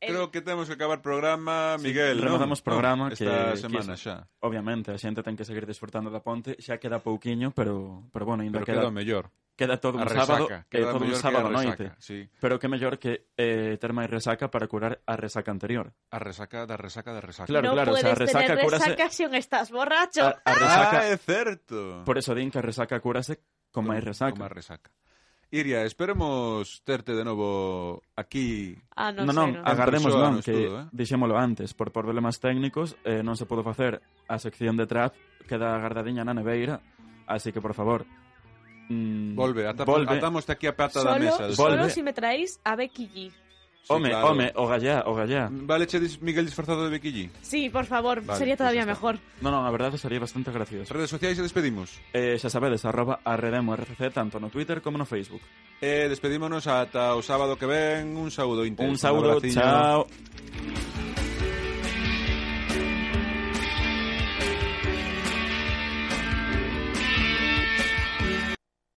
S2: el-
S1: Creo que temos que acabar programa, Miguel, non?
S3: rematamos programa
S1: non, esta
S3: que-
S1: semana
S3: que-
S1: xa.
S3: Obviamente, a xente ten que seguir disfrutando da ponte. Xa queda pouquiño, pero, pero bueno, ainda
S1: Pero
S3: queda,
S1: queda o mellor.
S3: queda todo
S1: A
S3: un
S1: resaca.
S3: sábado, eh,
S1: queda
S3: todo un
S1: mellor que
S3: sábado
S1: a
S3: a
S1: resaca,
S3: noite.
S1: Sí.
S3: Pero que mellor que eh, ter máis resaca para curar a resaca anterior.
S1: A resaca da resaca da resaca.
S2: no
S3: Claro, claro, o
S2: puedes
S3: sea, resaca,
S2: tener
S3: cúrase-
S2: resaca si aún estás borracho.
S3: A, a resaca,
S1: Ah, é certo.
S3: por eso din que a resaca curase con máis resaca.
S1: Con máis resaca. Iria, esperemos terte de novo aquí.
S2: Ah, no,
S3: non,
S2: sé,
S3: non,
S2: no.
S3: agardemos
S1: Persoa
S3: non,
S1: no
S3: que
S1: estudo, eh?
S3: dixémolo antes, por problemas técnicos eh, non se pudo facer a sección de trap queda agardadiña na neveira, así que por favor, mm,
S1: Volve, atamos,
S3: volve.
S1: atamoste aquí a pata da
S2: Solo,
S1: mesa.
S3: del
S2: solo
S3: Volve.
S2: si me traéis a Becky G.
S1: Sí,
S3: Home,
S1: claro.
S3: home, o gallá, o gallá.
S1: Vale, che dis Miguel disfrazado de Becky G.
S2: Sí, por favor,
S1: Vale,
S2: sería
S1: pues
S2: todavía
S1: está.
S2: mejor.
S3: Non, non, a verdade sería bastante
S1: As
S3: gracioso.
S1: redes sociais e despedimos.
S3: Eh, xa sabedes, arroba arredemo RCC tanto no Twitter como no Facebook.
S1: Eh, E despedímonos ata o sábado que ven. Un saúdo intenso.
S3: Un saúdo,
S1: abraciño.
S3: chao.